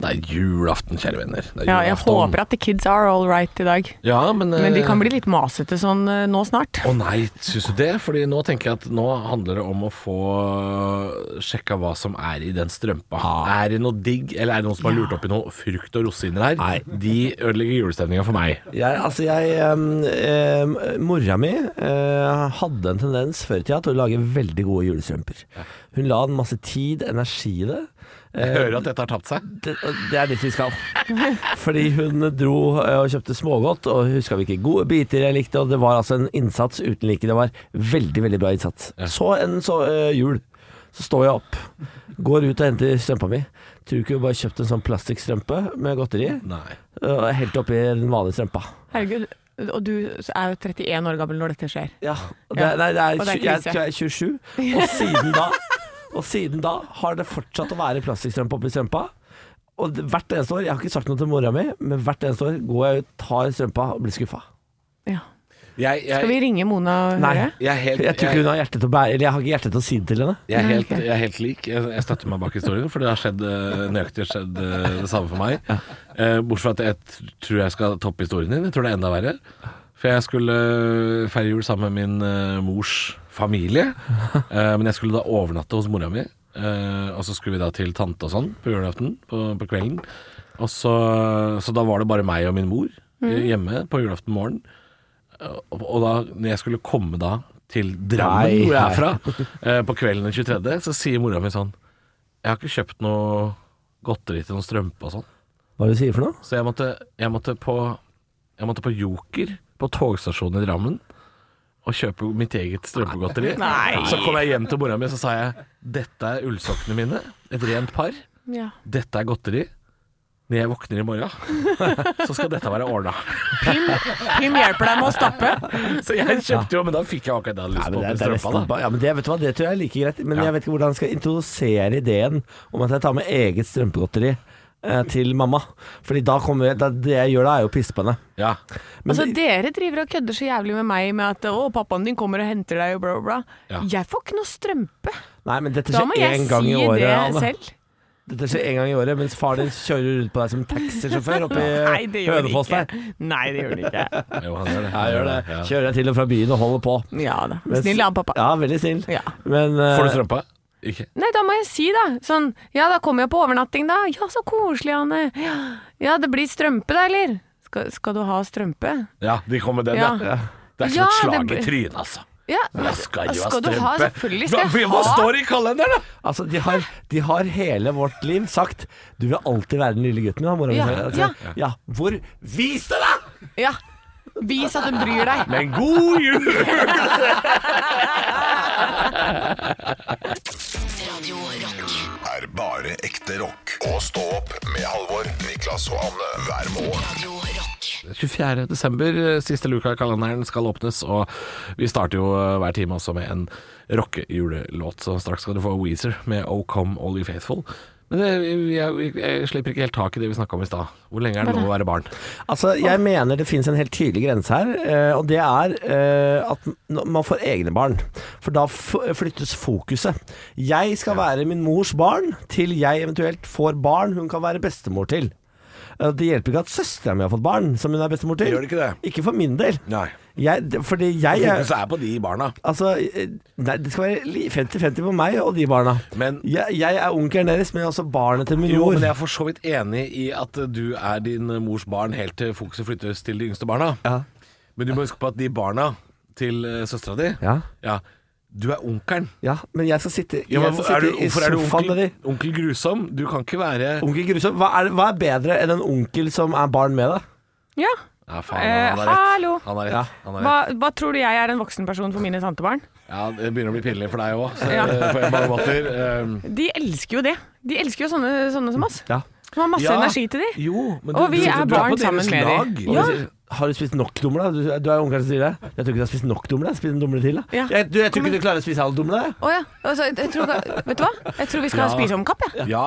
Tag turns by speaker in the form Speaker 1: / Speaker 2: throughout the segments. Speaker 1: Det er julaften, kjære venner. Det er
Speaker 2: Ja, jeg
Speaker 1: julaften.
Speaker 2: håper at the kids are all right i dag.
Speaker 1: Ja, men,
Speaker 2: Men de
Speaker 1: eh,
Speaker 2: kan bli litt masete sånn eh, nå snart.
Speaker 1: Å nei, syns du det? Fordi nå tenker jeg at nå handler det om å få sjekka hva som er i den strømpa. Er det noe digg, eller er det noen som har lurt oppi noe frukt og rosiner her?
Speaker 3: Nei.
Speaker 1: De ødelegger julestemninga for meg.
Speaker 3: Jeg, altså jeg, em, em, mora mi eh, hadde en tendens før i tida til å lage veldig gode julestrømper. Hun la en masse tid, energi i det.
Speaker 1: Jeg hører at dette har tapt seg.
Speaker 3: Det, det er dit vi skal. Fordi hun dro eh, og kjøpte smågodt, og huska hvilke gode biter jeg likte. Og det var altså en innsats uten like. Det var veldig, veldig bra innsats. Så en så, eh, jul. Så står jeg opp, går ut og henter strømpa mi. Tror ikke hun bare kjøpte en sånn plastikkstrømpe med godteri,
Speaker 1: Nei.
Speaker 3: og helt oppi den vanlige strømpa.
Speaker 2: Herregud, og du er jo 31 år gammel når dette skjer.
Speaker 3: Ja, og det,
Speaker 2: Ja.
Speaker 3: Nei, det er,
Speaker 2: Og det er
Speaker 3: jeg
Speaker 2: krise.
Speaker 3: tror jeg er 27, og siden da Og siden da har det fortsatt å være plastikkstrømpe oppi strømpa. Og det, hvert eneste år, jeg har ikke sagt noe til mora mi, men hvert eneste år går jeg ut, tar strømpa og blir skuffa.
Speaker 2: Ja.
Speaker 1: Jeg, jeg,
Speaker 2: Skal vi ringe Mona og
Speaker 3: Nei.
Speaker 2: høre?
Speaker 1: jeg er helt
Speaker 3: Jeg tror ikke hun har hjerte til å bære Eller jeg har ikke hjerte til å si det til henne.
Speaker 1: Jeg er, helt, jeg er helt lik. Jeg, jeg støtter meg bak historien, for det har skjedd eh, nøyaktig skjedd eh, det samme for meg. Eh, bortsett fra at jeg t- tror jeg skal toppe historien din. Jeg tror det er enda verre. For jeg skulle eh, feire jul sammen med min eh, mors familie. Eh, men jeg skulle da overnatte hos mora mi. Eh, og så skulle vi da til tante og sånn på julaften på, på kvelden. Og så, så da var det bare meg og min mor eh, hjemme på julaften morgen. Og, og da når jeg skulle komme da til Drammen,
Speaker 3: Nei,
Speaker 1: hvor jeg
Speaker 3: nei.
Speaker 1: er fra, eh, på kvelden den 23., så sier mora mi sånn Jeg har ikke kjøpt noe godteri til noen strømpe og sånn.
Speaker 3: Hva er det du sier for noe?
Speaker 1: Så jeg måtte, jeg måtte på Jeg måtte på Joker, på togstasjonen i Drammen, og kjøpe mitt eget strømpegodteri.
Speaker 2: Nei.
Speaker 1: Så kom jeg hjem til mora mi, og så sa jeg Dette er ullsokkene mine. Et rent par.
Speaker 2: Ja.
Speaker 1: Dette er godteri. Når jeg våkner i morgen, så skal dette være ordna.
Speaker 2: Pym, Pym hjelper deg med å stappe.
Speaker 1: Så jeg kjøpte jo, men da fikk jeg akkurat det jeg hadde lyst
Speaker 3: Nei,
Speaker 1: på.
Speaker 3: men det,
Speaker 1: til
Speaker 3: det, er
Speaker 1: strømpa, da.
Speaker 3: nesten, ba- ja, men det, vet du hva, det tror jeg er like greit. Men
Speaker 1: Ja.
Speaker 3: jeg vet ikke hvordan jeg skal introdusere ideen om at jeg tar med eget strømpegodteri eh, til mamma. Fordi da kommer jeg, da, Det jeg gjør da, er jo å pisse på henne.
Speaker 1: Ja.
Speaker 3: Men
Speaker 2: Altså,
Speaker 3: det-
Speaker 2: dere driver og kødder så jævlig med meg med at 'å, pappaen din kommer og henter deg' og bla, bla,
Speaker 1: Ja.
Speaker 2: bla. Jeg får ikke noe strømpe.
Speaker 3: Nei, men dette
Speaker 2: Da må
Speaker 3: skjer
Speaker 2: jeg
Speaker 3: én gang
Speaker 2: si
Speaker 3: i året.
Speaker 2: det
Speaker 3: Anne.
Speaker 2: selv.
Speaker 3: Dette skjer én gang i året, mens far din kjører rundt på deg som taxisjåfør oppe
Speaker 2: Nei,
Speaker 3: i
Speaker 2: det gjør det
Speaker 3: Hønefoss
Speaker 2: ikke.
Speaker 3: der.
Speaker 2: Nei, det gjør det ikke.
Speaker 1: Jo, han gjør det.
Speaker 3: Ja, gjør det.
Speaker 1: Ja.
Speaker 3: Kjører deg til og fra byen og holder på.
Speaker 2: Ja da.
Speaker 3: Mens-
Speaker 2: Snill han, pappa.
Speaker 3: Ja, veldig snill.
Speaker 2: Ja.
Speaker 3: Men eh,
Speaker 1: Får du strømpa? Ikke.
Speaker 2: Nei, da må jeg si da. Sånn, ja, da kommer jeg på overnatting da. Ja, så koselig, Anne. Ja, ja det blir strømpe da, eller? Skal, skal du ha strømpe?
Speaker 1: Ja, de kom med den,
Speaker 2: Ja.
Speaker 1: ja. Det er som
Speaker 2: Ja,
Speaker 1: et
Speaker 2: det
Speaker 1: slag
Speaker 2: blir-
Speaker 1: i trynet, altså.
Speaker 2: Ja,
Speaker 1: Da skal
Speaker 2: da
Speaker 1: du ha
Speaker 2: skal du
Speaker 1: strømpe.
Speaker 2: ha, selvfølgelig skal
Speaker 1: Hva-
Speaker 2: jeg
Speaker 1: Hva
Speaker 2: ha.
Speaker 1: står i kalenderen, da?
Speaker 3: altså, de har, de har hele vårt liv sagt 'du vil alltid være den lille gutten min', har mora mi
Speaker 2: Ja,
Speaker 3: sagt.
Speaker 2: ja.
Speaker 3: Altså, ja, hvor Vis det, da!
Speaker 2: Ja, vis at du bryr deg.
Speaker 1: Men god jul!
Speaker 4: Radio Rock.
Speaker 5: Er bare ekte rock. Og stå opp med Halvor, Niklas og Anne hver morgen.
Speaker 4: Radio Rock.
Speaker 1: 24. desember, eh, siste luka i kalenderen skal åpnes, og vi starter jo eh, hver time også med en rockejulelåt, så straks skal du få Weezer med O Come All You Faithful. Men eh, vi- jeg, jeg, jeg slipper ikke helt tak i det vi snakka om i stad. Hvor lenge er det lov å være barn?
Speaker 3: Altså, jeg mener det finnes en helt tydelig grense her, eh, og det er eh, at n- man får egne barn. For da f flyttes fokuset. Jeg skal være min mors barn til jeg eventuelt får barn hun kan være bestemor til. Eh, Det hjelper ikke at søstera mi har fått barn som hun er bestemor til.
Speaker 1: Gjør det ikke det?
Speaker 3: for min del.
Speaker 1: Nei.
Speaker 3: Jeg, d- fordi jeg
Speaker 1: Fokuset er på de barna.
Speaker 3: Altså, eh, nei, det skal være li- 50-50 på meg og de barna.
Speaker 1: Men-
Speaker 3: jeg, jeg er onkelen deres, men jeg er også barnet til min
Speaker 1: Jo,
Speaker 3: mor.
Speaker 1: men jeg er for så vidt enig i at du er din mors barn helt til fokuset flyttes til de yngste barna.
Speaker 3: Ja.
Speaker 1: Men du må huske på at de barna til eh, søstera di
Speaker 3: Ja.
Speaker 1: Du er onkelen.
Speaker 3: Ja, men jeg skal sitte,
Speaker 1: Ja, men
Speaker 3: jeg skal
Speaker 1: er
Speaker 3: sitte
Speaker 1: du,
Speaker 3: i
Speaker 1: hvorfor er du
Speaker 3: sofaen med de.
Speaker 1: onkel, onkel grusom? Du kan ikke være
Speaker 3: Onkel Grusom, hva er, hva er bedre enn en onkel som er barn med deg?
Speaker 2: Ja,
Speaker 1: Ja, faen, han har
Speaker 2: Eh,
Speaker 1: rett.
Speaker 2: hallo.
Speaker 1: Han har rett.
Speaker 3: Ja.
Speaker 1: Han har
Speaker 2: hva,
Speaker 1: rett.
Speaker 2: hva tror du jeg er en voksen person for mine tantebarn?
Speaker 1: ja, det begynner å bli pinlig for deg òg,
Speaker 2: Ja.
Speaker 1: på mange måter. Um,
Speaker 2: De elsker jo det. De elsker jo sånne, sånne som oss.
Speaker 3: Ja.
Speaker 2: Som har masse
Speaker 1: Ja.
Speaker 2: energi til de.
Speaker 1: jo, men
Speaker 2: Og vi er
Speaker 1: du på
Speaker 2: barn
Speaker 1: deres
Speaker 2: sammen med de.
Speaker 1: lag.
Speaker 2: Ja.
Speaker 3: Har du spist nok dumle? da? Du, du er onkelen som sier det. Jeg tror ikke du har spist nok dumle. Spis en dumle til, da.
Speaker 2: Ja.
Speaker 3: Jeg, du, jeg tror ikke du klarer å spise halv dumle.
Speaker 2: Å ja. Altså, jeg, jeg tror, vet du hva? Jeg tror vi skal ha
Speaker 1: Ja.
Speaker 2: spiseomkapp, jeg.
Speaker 1: Ja,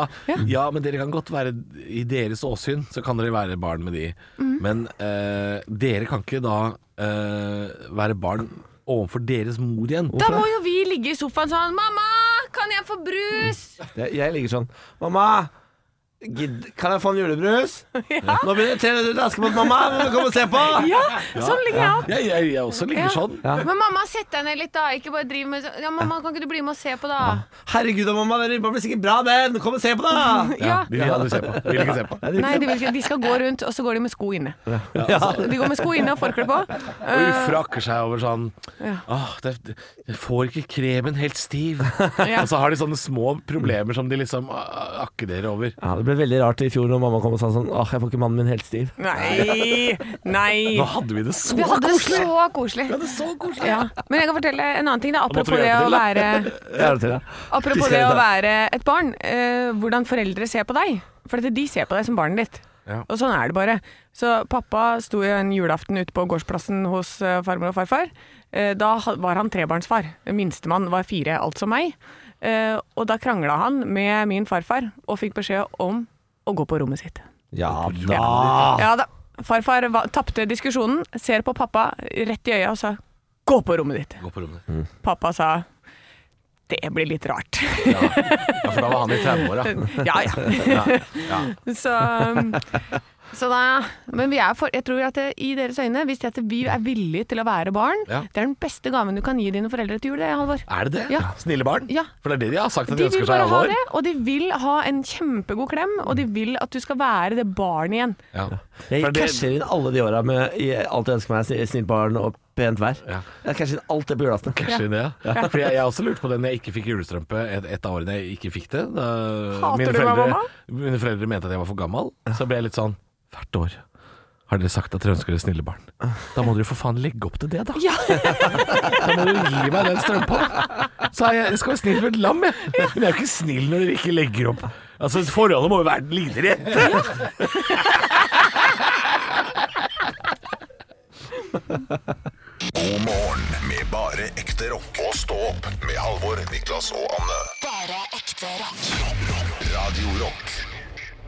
Speaker 1: ja, men dere kan godt være I deres åsyn så kan dere være
Speaker 2: Mm.
Speaker 1: barn med de. Men eh, dere kan ikke da eh, være barn overfor deres mor igjen.
Speaker 2: Da må jo vi ligge i sofaen sånn 'Mamma, kan jeg få brus?'
Speaker 3: Jeg, jeg ligger sånn Mamma! gidd- Kan jeg få en julebrus? Nå begynner 300 Askepott, mamma! Må du komme og se på?
Speaker 2: Ja, sånn ligger jeg opp.
Speaker 1: Jeg, jeg, jeg også ligger
Speaker 2: Ja.
Speaker 1: sånn.
Speaker 2: Men mamma, sett deg ned litt, da. Ikke bare driv med sånn Ja, mamma, kan ikke du bli med og se på, da?
Speaker 3: Herregud, da, mamma, den ribba blir sikkert bra, den! Kom og se på, da!
Speaker 2: Ja.
Speaker 1: De vil aldri se på. Vil ikke se på.
Speaker 2: Nei, de, vil ikke, de skal gå rundt, og så går de med sko inne.
Speaker 3: Ja.
Speaker 2: De går med sko inne og forkle på. Eh,
Speaker 1: Og ufrakker seg over sånn Åh, det, Jeg får ikke kremen helt stiv. Og så har de sånne små problemer som de liksom ah, akkederer over.
Speaker 3: Ja, Det ble veldig rart i fjor når mamma kom og sa sånn Åh, jeg får ikke mannen min helt stiv.
Speaker 2: Nei, nei.
Speaker 1: Nå hadde vi det så
Speaker 2: Vi hadde det
Speaker 1: koselig!
Speaker 2: så koselig.
Speaker 1: Vi hadde det så koselig.
Speaker 2: Ja. Men jeg kan fortelle en annen ting. Da.
Speaker 1: måtte
Speaker 2: Apropos,
Speaker 1: vi
Speaker 2: det
Speaker 1: hjelpe
Speaker 2: å,
Speaker 1: til,
Speaker 2: være,
Speaker 3: Jeg er det til, ja.
Speaker 2: apropos
Speaker 3: Skal
Speaker 2: det
Speaker 3: jeg
Speaker 2: å
Speaker 3: ta-
Speaker 2: være et barn. Eh, hvordan foreldre ser på deg. For at de ser på deg som barnet ditt.
Speaker 1: Ja.
Speaker 2: Og sånn er det bare. Så pappa sto jo en julaften ute på gårdsplassen hos eh, farmor og farfar. Eh, da ha- var han trebarnsfar. Minstemann var fire, altså meg. Eh, og da krangla han med min farfar og fikk beskjed om å gå på rommet sitt.
Speaker 3: Ja da.
Speaker 2: Ja da. Farfar va- tapte diskusjonen, ser på pappa rett i øya og sa 'gå på rommet ditt'.
Speaker 1: Gå på rommet.
Speaker 2: Pappa sa det blir litt rart.
Speaker 1: Ja, for da var han i 30-åra.
Speaker 2: ja, ja. så, um, så da Men vi er for, jeg tror at det, i deres øyne, hvis det at vi er villige til å være barn,
Speaker 1: Ja.
Speaker 2: det er den beste gaven du kan gi dine foreldre til jul, det, Halvor.
Speaker 1: Er det det?
Speaker 2: Ja.
Speaker 1: Snille barn?
Speaker 2: Ja.
Speaker 1: For det er det de har sagt at de,
Speaker 2: De vil
Speaker 1: ønsker seg i
Speaker 2: bare
Speaker 1: alle
Speaker 2: ha
Speaker 1: år.
Speaker 2: det, og de vil ha en kjempegod klem, og de vil at du skal være det barnet igjen.
Speaker 1: Ja. For
Speaker 3: Jeg
Speaker 1: det-
Speaker 3: casher inn alle de åra med i alt jeg ønsker meg, sn- snilt barn og pent vær.
Speaker 1: Ja.
Speaker 3: Jeg casher inn alt det på julaften.
Speaker 1: Kanskje det, ja. For jeg, jeg også lurte på det når jeg ikke fikk julestrømpe et, et av årene jeg ikke fikk det. Da
Speaker 2: Hater du meg,
Speaker 1: foreldre,
Speaker 2: mamma?
Speaker 1: mine foreldre mente at jeg var for gammel. Så ble jeg litt sånn Hvert år har dere sagt at dere ønsker dere snille barn. Da må dere for faen legge opp til det, da.
Speaker 2: Ja,
Speaker 1: Da må dere gi meg den strømpa. Så er jeg, jeg skal være snill med et lam, jeg. Men jeg er jo ikke snill når dere ikke legger opp. Altså, Forholdet må jo være lite rett.
Speaker 5: God morgen med bare ekte rock. Og stå opp med Halvor, Niklas og Anne.
Speaker 4: Bare ekte rock.
Speaker 5: Radio Rock.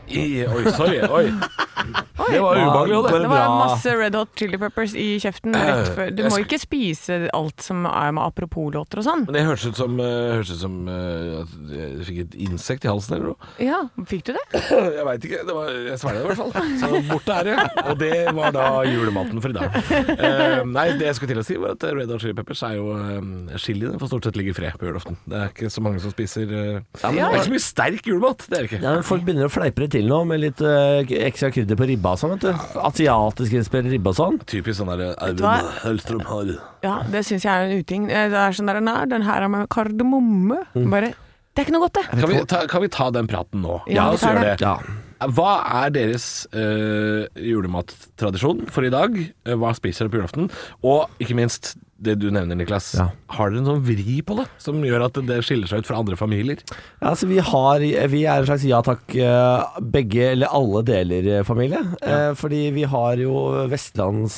Speaker 1: I, oi, sorry. Oi. Det var
Speaker 3: Hva-
Speaker 1: ubehagelig òg, det.
Speaker 3: går
Speaker 2: Det var
Speaker 3: bra?
Speaker 2: masse Red Hot Chili Peppers i kjeften rett før. Du
Speaker 1: Jeg
Speaker 2: må
Speaker 1: sk-
Speaker 2: ikke spise alt som er med apropos-låter og sånn.
Speaker 1: Men det hørtes ut som, eh, hørtes ut som eh, at jeg fikk et insekt i halsen eller noe.
Speaker 2: Ja, fikk du det?
Speaker 1: Jeg veit ikke. Det var, jeg svelga det i hvert fall. Så borte er det. Og det var da julematen for i dag. Eh, nei, det jeg skulle til å si var at Red Hot Chili Peppers er jo um, chiliene får stort sett ligge i fred på julaften. Det er ikke så mange som spiser eh, Det er ikke så mye sterk julemat. Det er det ikke.
Speaker 3: Ja, men folk begynner å fleipe det til nå med litt eh, ekstra krydder på ribba og sånn. vet du Asiatisk innspill ribbe og sånn.
Speaker 1: Typisk sånn derre
Speaker 2: hva?
Speaker 1: Eivind Hellstrøm har
Speaker 2: Ja, det syns jeg er en uting. Eh, Det er sånn der, nei, den her er med kardemomme.
Speaker 1: Mm.
Speaker 2: Bare Det er ikke noe godt, det.
Speaker 1: kan vi, ta, kan vi ta den praten nå?
Speaker 2: Ja, vi
Speaker 1: så
Speaker 2: tar
Speaker 1: gjør
Speaker 2: den.
Speaker 1: det. Hva er deres eh, julemattradisjon for i dag? Eh, Hva spiser dere på julaften? Og ikke minst det du nevner, Niklas.
Speaker 3: Ja.
Speaker 1: Har dere en sånn vri på det, som gjør at det skiller seg ut fra andre familier?
Speaker 3: Ja, altså vi, har, vi er en slags ja takk eh, begge, eller alle deler eh, familie. Eh, fordi vi har jo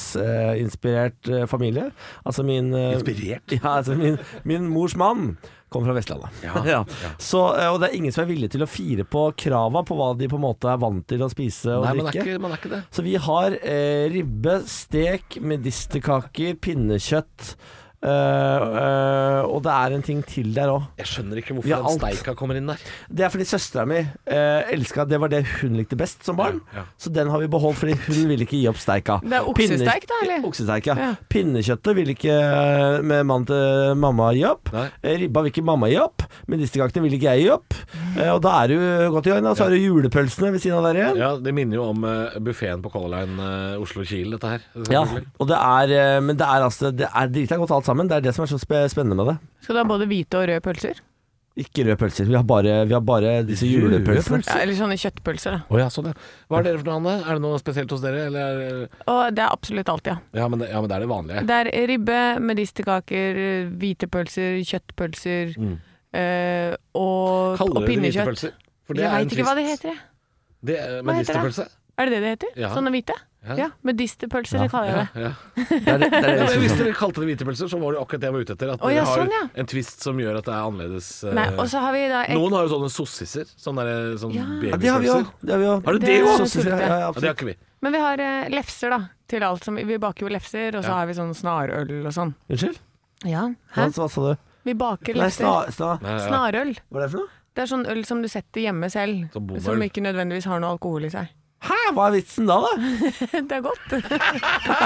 Speaker 3: vestlandsinspirert eh, familie. Altså min eh,
Speaker 1: Inspirert?
Speaker 3: Ja, altså min, min mors mann kom fra Vestlandet.
Speaker 1: Ja,
Speaker 3: Så, eh, og det er ingen som er villig til å fire på krava på hva de på en måte er vant til å spise og
Speaker 1: Nei, man er,
Speaker 3: drikke.
Speaker 1: ikke, man er ikke det.
Speaker 3: Så vi har eh, ribbe, stek, medisterkaker, pinnekjøtt. eh, eh, og det er en ting til der òg.
Speaker 1: Jeg skjønner ikke
Speaker 3: Vi
Speaker 1: hvorfor
Speaker 3: har
Speaker 1: den
Speaker 3: alt.
Speaker 1: steika kommer inn der.
Speaker 3: Det er fordi søstera mi eh, elska Det var det hun likte best som barn.
Speaker 1: Ja, ja.
Speaker 3: Så den har vi beholdt, fordi hun ville ikke gi opp steika.
Speaker 2: Det er oksesteik da, eller?
Speaker 3: Oksesteik, ja.
Speaker 2: Ja.
Speaker 3: Pinnekjøttet ville ikke eh, med mannen til mamma gi opp.
Speaker 1: Nei.
Speaker 3: Eh, Ribba vil ikke mamma gi opp. Medisterkakene vil ikke jeg gi opp. Eh, og da er du godt i gang. da. Så har du julepølsene ved siden av der igjen.
Speaker 1: Ja, Det minner jo om uh, buffeen på Color Line eh, Oslo-Kiel, dette her.
Speaker 3: Ja,
Speaker 1: selvfølgelig.
Speaker 3: og det er, eh, men det er altså Det er drita godt alt sammen. Det er det som er så spe- spennende med det.
Speaker 2: Skal du ha både hvite og røde pølser?
Speaker 3: Ikke røde pølser. Vi har bare, vi har bare disse
Speaker 1: Røde
Speaker 3: julepølsene.
Speaker 2: Ja, eller sånne kjøttpølser, da.
Speaker 1: Å ja, sånn ja. Hva er dere for noe, Hanne? Er det noe spesielt hos dere? Eller er,
Speaker 2: Og det er absolutt alt, ja.
Speaker 1: ja, men det, ja, men det er det vanlige.
Speaker 2: Det er ribbe, medisterkaker, hvite pølser, kjøttpølser eh,
Speaker 1: Mm.
Speaker 2: og, og
Speaker 1: Kaller dere det
Speaker 2: pinnekjøtt.
Speaker 1: hvitepølser? For det
Speaker 2: Jeg
Speaker 1: er en
Speaker 2: veit ikke hva det
Speaker 1: trist-
Speaker 2: heter, jeg.
Speaker 1: Det er
Speaker 2: Hva heter det?
Speaker 1: medisterpølse.
Speaker 2: Er det det det heter?
Speaker 1: Ja.
Speaker 2: Sånne hvite?
Speaker 1: Ja.
Speaker 2: Ja. Medisterpølser, det kaller jeg det.
Speaker 1: Ja.
Speaker 3: Det er det, det, er
Speaker 1: Ja,
Speaker 3: det vi
Speaker 1: men
Speaker 3: synes
Speaker 1: hvis
Speaker 3: om.
Speaker 1: dere kalte det hvite pølser, så var det akkurat det jeg var ute etter. At
Speaker 2: Å,
Speaker 1: dere
Speaker 2: ja,
Speaker 1: har
Speaker 2: sånn, ja.
Speaker 1: en twist som gjør at det er annerledes. eh,
Speaker 2: Nei, og så har vi da ek
Speaker 1: Noen har jo sånne sossiser. Sånne, der- sånne
Speaker 2: Ja.
Speaker 3: Ja, det har vi
Speaker 1: sånn babypølser.
Speaker 3: òg. Det har vi òg.
Speaker 1: Har du
Speaker 2: Det
Speaker 1: det
Speaker 2: er
Speaker 1: òg?
Speaker 2: så tullete.
Speaker 3: Ja, ja,
Speaker 1: Ja, det
Speaker 3: absolutt.
Speaker 1: har ikke vi.
Speaker 2: Men vi har eh, lefser, da. Til alt som Vi baker jo lefser, og så
Speaker 1: Ja.
Speaker 2: har vi sånn snarøl og sånn.
Speaker 3: Unnskyld?
Speaker 2: Ja,
Speaker 3: Hva,
Speaker 2: hæ?
Speaker 3: hva sa du?
Speaker 2: Vi baker
Speaker 3: Nei, sna,
Speaker 2: lekser.
Speaker 3: sna.
Speaker 1: Snar.
Speaker 2: Snarøl.
Speaker 3: Hva er det for noe?
Speaker 2: Det er sånn øl som du setter hjemme selv,
Speaker 1: Som bobøl.
Speaker 2: som ikke nødvendigvis har noe alkohol i seg.
Speaker 3: Hæ, hva er vitsen da, da?
Speaker 2: Det er godt.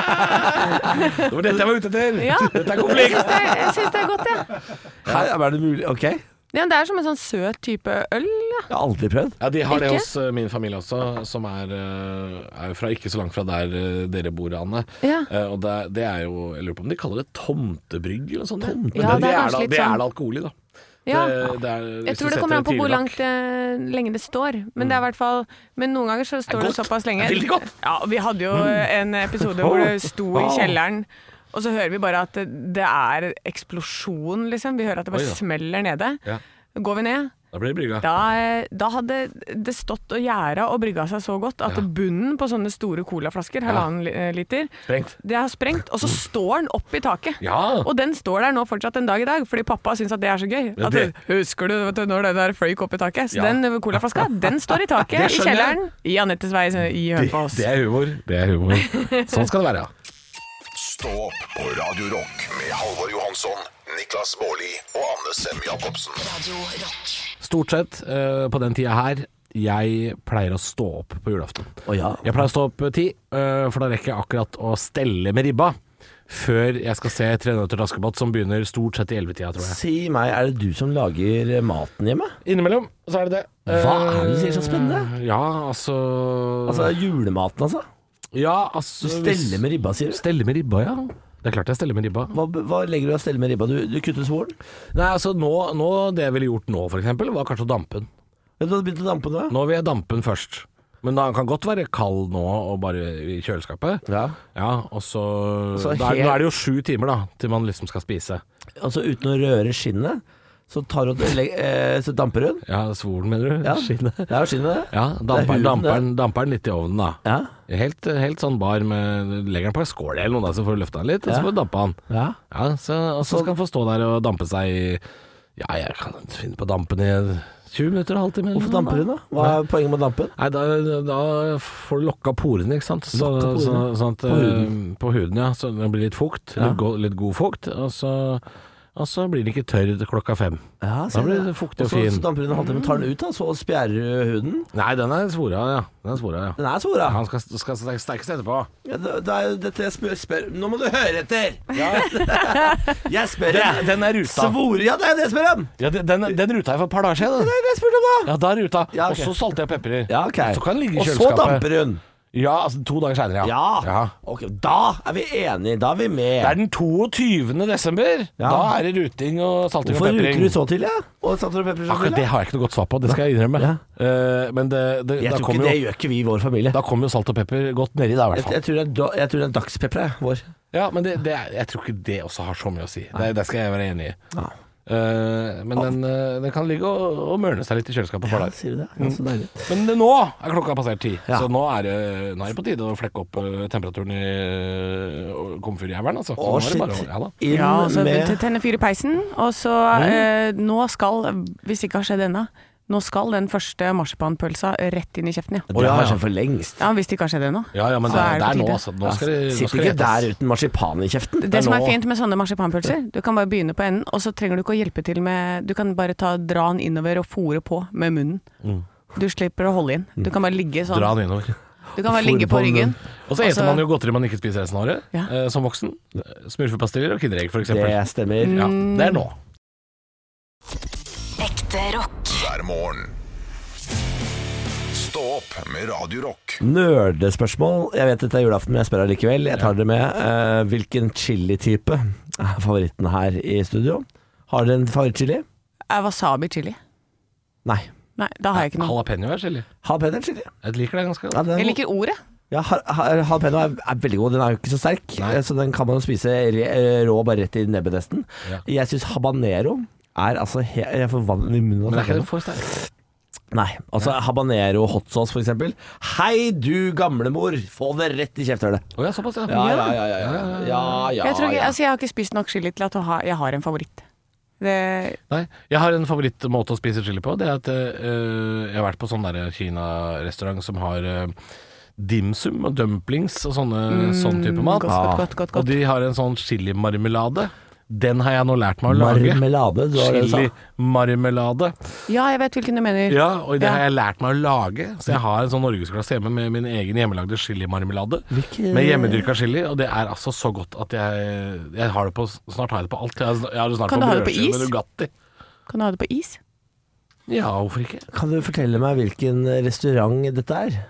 Speaker 1: Det var dette jeg var ute etter!
Speaker 2: Ja.
Speaker 1: Dette er konflikt!
Speaker 2: Syns det er- Jeg syns det er godt, jeg. Ja.
Speaker 3: Hæ, er det mulig? Ok, jeg
Speaker 2: Ja, det er som en sånn søt type øl. ja.
Speaker 3: har aldri prøvd.
Speaker 1: Ja, De har det
Speaker 2: Ikke?
Speaker 1: hos eh, min familie også, som er, eh, er jo fra ikke så langt fra der eh, dere bor, Anne.
Speaker 2: Ja.
Speaker 1: Eh, Og det, det er jo Jeg lurer på om de kaller det tomtebrygg eller noe sånt. ja. Men
Speaker 2: Ja, det er kanskje
Speaker 1: da-
Speaker 2: litt
Speaker 1: det
Speaker 2: sånn.
Speaker 1: er det alkohol i, da.
Speaker 2: Ja.
Speaker 1: Det- det er-
Speaker 2: Jeg
Speaker 1: hvis du
Speaker 2: tror det
Speaker 1: setter
Speaker 2: kommer an på
Speaker 1: tidlig
Speaker 2: hvor
Speaker 1: nok-
Speaker 2: langt eh, lenge det står. Men det er i hvert fall Men noen ganger så står det,
Speaker 1: godt.
Speaker 2: såpass lenge.
Speaker 1: Det er veldig godt. Mm. Oh.
Speaker 2: Ja, vi hadde jo en episode hvor det sto i kjelleren, og så hører vi bare at det- det er eksplosjon, liksom. Vi hører at det bare
Speaker 1: Oi da.
Speaker 2: smeller nede.
Speaker 1: Ja.
Speaker 2: Går vi ned,
Speaker 1: Da blir det brygga.
Speaker 2: da, eh, da hadde det stått og gjæra og brygga seg så godt at bunnen på sånne store colaflasker, halvannen li- eh, liter,
Speaker 1: Sprengt. Mm.
Speaker 2: det er sprengt, og så står den opp i taket.
Speaker 1: Ja.
Speaker 2: Og den står der nå fortsatt en dag i dag, fordi pappa syns at det er så gøy.
Speaker 1: Ja,
Speaker 2: At,
Speaker 1: det-
Speaker 2: Husker du, vet du når den der fløyk opp i taket? Så
Speaker 1: Ja.
Speaker 2: den colaflaska, den står i taket
Speaker 1: Det
Speaker 2: i
Speaker 1: skjønner jeg.
Speaker 2: kjelleren i Anettes vei i Hønefoss.
Speaker 1: Det er humor. Det er humor. Sånn skal det være, ja.
Speaker 5: Stå opp på Radio Rock med Halvor Johansson, Niklas Baarli og Anne Sem Jacobsen.
Speaker 4: Radio Rock.
Speaker 1: Stort sett eh, på den tida her, jeg pleier å stå opp på julaften.
Speaker 3: Å ja.
Speaker 1: Jeg pleier å stå opp eh, ti, eh, for da rekker jeg akkurat å stelle med ribba. Før jeg skal se 'Tre nøtter til Askepott', som begynner stort sett i 11-tida, tror jeg.
Speaker 3: Si meg, er det du som lager maten hjemme?
Speaker 1: Innimellom så er det det.
Speaker 3: Hva er det du sier så spennende?
Speaker 1: Eh, Ja, altså,
Speaker 3: Altså, julematen, altså?
Speaker 1: Ja, altså
Speaker 3: Du steller med ribba, sier du?
Speaker 1: Stelle med ribba, ja. Det er klart jeg steller med ribba.
Speaker 3: Hva, hva legger du i å stelle med ribba? Du, du kutter svoren?
Speaker 1: Nei, altså nå, nå Det jeg ville gjort nå, for eksempel, var kanskje å dampe den.
Speaker 3: Vet du hva du begynte å dampe nå?
Speaker 1: Nå vil jeg dampe den først. Men den kan godt være kald nå og bare i kjøleskapet.
Speaker 3: Ja.
Speaker 1: og så,
Speaker 3: Så
Speaker 1: da er-
Speaker 3: helt-
Speaker 1: Nå er det jo sju timer, da, til man liksom skal spise.
Speaker 3: Altså uten å røre skinnet, så, tar hun, legg- eh, så damper hun?
Speaker 1: Ja, svoren, mener du?
Speaker 3: Ja,
Speaker 1: Skinnet.
Speaker 3: Det er jo skinnet, det.
Speaker 1: Ja, damper,
Speaker 3: huden,
Speaker 1: damper,
Speaker 3: det.
Speaker 1: den- damper den litt i ovnen, da.
Speaker 3: Ja.
Speaker 1: Helt, helt sånn bar med Legger den på en skål eller noe, da, så får du løfta den litt, og så
Speaker 3: Ja.
Speaker 1: får du dampe den.
Speaker 3: ja.
Speaker 1: Ja, så, og så skal han få stå der og dampe seg i Ja, jeg kan finne på å dampe den i 20 minutter, en halvtime. eller noe,
Speaker 3: Hvorfor damper hun, da? Hva er poenget med å dampe den?
Speaker 1: Nei, da, da får du lokka porene, ikke sant. Så,
Speaker 3: Lokka porene.
Speaker 1: så, sånn at,
Speaker 3: På huden.
Speaker 1: eh, På huden, ja. Så det blir litt fukt.
Speaker 3: Ja.
Speaker 1: Litt, go litt god fukt. Og så, og så blir den ikke tørr til klokka fem.
Speaker 3: Ja,
Speaker 1: Da blir det fuktig og
Speaker 3: så,
Speaker 1: fin.
Speaker 3: så damper hun en halvtime, tar den ut, da, så spjærer du huden.
Speaker 1: Nei, den er svora, ja. Den er svora, ja.
Speaker 3: Den er svora.
Speaker 1: Han skal, skal sterkes etterpå.
Speaker 3: Ja, det, det er jo dette jeg spør, spør Nå må du høre etter! jeg spør om
Speaker 1: Den er
Speaker 3: Svore Ja, det er det jeg spør om!
Speaker 1: Ja, den, den- den ruta jeg for et par dager siden.
Speaker 3: Det
Speaker 1: den.
Speaker 3: er det jeg spurte om, da!
Speaker 1: Ja, da er ruta.
Speaker 3: Ja, ok.
Speaker 1: Og så salter jeg og peprer.
Speaker 3: Ja, ok.
Speaker 1: Så kan den ligge i
Speaker 3: Og så
Speaker 1: kjøleskapet.
Speaker 3: damper hun.
Speaker 1: Ja, altså to dager seinere,
Speaker 3: Ja. Ok, Da er vi enige. Da er vi
Speaker 1: Det er
Speaker 3: med.
Speaker 1: den 22. desember.
Speaker 3: Ja.
Speaker 1: Da er det ruting og salting
Speaker 3: Hvorfor
Speaker 1: og pepring.
Speaker 3: ruker du så til, ja? Og salter og pepper så
Speaker 1: Akkurat
Speaker 3: til?
Speaker 1: det har jeg ikke noe godt svar på, det skal jeg innrømme.
Speaker 3: Ja.
Speaker 1: Eh, men det, det,
Speaker 3: Jeg
Speaker 1: da
Speaker 3: tror ikke
Speaker 1: kommer
Speaker 3: det
Speaker 1: jo,
Speaker 3: gjør ikke vi i vår familie.
Speaker 1: da kommer jo salt og pepper godt nedi, da i
Speaker 3: Jeg,
Speaker 1: hvert fall.
Speaker 3: jeg, tror det er, da- jeg tror det er dagspepper, jeg, vår.
Speaker 1: Ja, men det, det, er- jeg tror ikke det også har så mye å si. Det, det skal jeg være enig i.
Speaker 3: Ja.
Speaker 1: Eh, men den, eh, den kan ligge og, og mørne seg litt i kjøleskapet. et par dager.
Speaker 3: sier du det? Ja, så deilig.
Speaker 1: Men det, nå er klokka passert ti,
Speaker 3: Ja.
Speaker 1: så nå er, det, nå er det på tide å flekke opp eh, temperaturen i uh, komfyrjævelen. Altså. Så
Speaker 3: Å,
Speaker 1: nå er det bare å-
Speaker 3: shit.
Speaker 1: ja da.
Speaker 3: Inn
Speaker 2: Ja, altså, og så
Speaker 3: med
Speaker 2: tenne fyr i peisen, og
Speaker 1: Mm.
Speaker 2: så eh, Nå skal, hvis det ikke har skjedd ennå, nå skal den første marsipanpølsa rett inn i kjeften, ja.
Speaker 3: Det
Speaker 1: ja,
Speaker 3: har
Speaker 1: ja.
Speaker 3: skjedd for lengst.
Speaker 2: ja hvis det ikke har skjedd ennå.
Speaker 1: Ja, ja, men
Speaker 2: Så
Speaker 1: det,
Speaker 2: er
Speaker 1: er,
Speaker 2: det
Speaker 1: det
Speaker 2: på
Speaker 1: er nå,
Speaker 2: tide.
Speaker 1: altså. Nå skal det nå
Speaker 3: Sitt
Speaker 1: skal
Speaker 3: ikke
Speaker 1: det
Speaker 3: der
Speaker 1: etes.
Speaker 3: uten marsipan i kjeften.
Speaker 2: Det som er
Speaker 1: nå-
Speaker 2: fint med sånne marsipanpølser, du kan bare begynne på enden, og så trenger du ikke å hjelpe til med Du kan bare ta, dra den innover og fòre på med munnen. Du slipper å holde inn. Du kan bare ligge sånn.
Speaker 1: Mm. Dra den innover.
Speaker 2: Du kan bare
Speaker 3: Fôre
Speaker 2: ligge på
Speaker 3: på munnen.
Speaker 2: ryggen.
Speaker 1: Og så
Speaker 2: Altså-
Speaker 1: eter man jo godteri man ikke spiser resten av året,
Speaker 2: Ja.
Speaker 1: eh, som voksen. Smurfepastiller og Kinderegg, f.eks.
Speaker 3: Det
Speaker 1: Ja,
Speaker 2: Mm.
Speaker 3: stemmer.
Speaker 1: det er nå.
Speaker 4: Ekte rock.
Speaker 5: hver morgen. Stå opp med Radio Rock.
Speaker 3: Nerdespørsmål. Jeg vet dette er julaften, men jeg spør allikevel. Jeg tar det med. Eh, hvilken chilitype er favoritten her i studio? Har dere en favorittchili?
Speaker 2: Er wasabi chili?
Speaker 3: Nei.
Speaker 2: Nei, da har jeg ikke noe.
Speaker 1: Jalapeño er chili.
Speaker 3: Jalapeno er chili.
Speaker 1: Jeg liker det ganske
Speaker 3: Ja,
Speaker 1: godt.
Speaker 3: den er
Speaker 2: Jeg
Speaker 3: god.
Speaker 2: liker ordet.
Speaker 3: ja, har- har- jalapeno er, er veldig god. Den er jo ikke så sterk,
Speaker 1: Nei.
Speaker 3: eh, så den kan man jo spise re- eh, rå bare rett i nebbet nesten.
Speaker 1: Ja.
Speaker 3: Jeg syns habanero er altså he Jeg får vann i munnen. av
Speaker 1: Men er
Speaker 3: tanken.
Speaker 1: ikke den for sterk?
Speaker 3: Nei, altså habanero hot sauce for eksempel Hei du gamlemor, få det rett i kjefthølet
Speaker 1: Å ja, såpass, ja.
Speaker 3: Ja, ja, ja, ja, ja, ja, ja,
Speaker 2: jeg, tror
Speaker 1: Ah,
Speaker 2: ikke,
Speaker 3: ja.
Speaker 2: altså, jeg har ikke spist nok chili til at å ha, jeg har en favoritt. Det,
Speaker 1: Nei, jeg har en favorittmåte å spise chili på. Det er at eh, jeg har vært på sånn der Kina-restaurant som har eh, dimsum og dumplings og sånne, sånn type mat.
Speaker 2: Mm, godt, godt, godt, godt,
Speaker 1: Og
Speaker 2: godt.
Speaker 1: de har en sånn chilimarmelade. Den har jeg nå lært meg å lage.
Speaker 3: Marmelade, du har det du sa.
Speaker 1: Chili-marmelade.
Speaker 2: Ja, jeg vet hvilken du mener.
Speaker 1: Ja, og det
Speaker 2: Ja.
Speaker 1: har jeg lært meg å lage. Så jeg har en sånn norgesklasse hjemme med min egen hjemmelagde chilimarmelade.
Speaker 3: Hvilke-
Speaker 1: Med hjemmedyrka chili, og det er altså så godt at jeg, jeg har det på Snart har jeg det på alt. Jeg har, jeg har det snart på
Speaker 2: Kan du ha det på
Speaker 1: brødskive med
Speaker 2: is?
Speaker 1: Nugatti.
Speaker 2: Kan du ha det på is?
Speaker 1: Ja, hvorfor ikke?
Speaker 3: Kan du fortelle meg hvilken restaurant dette er?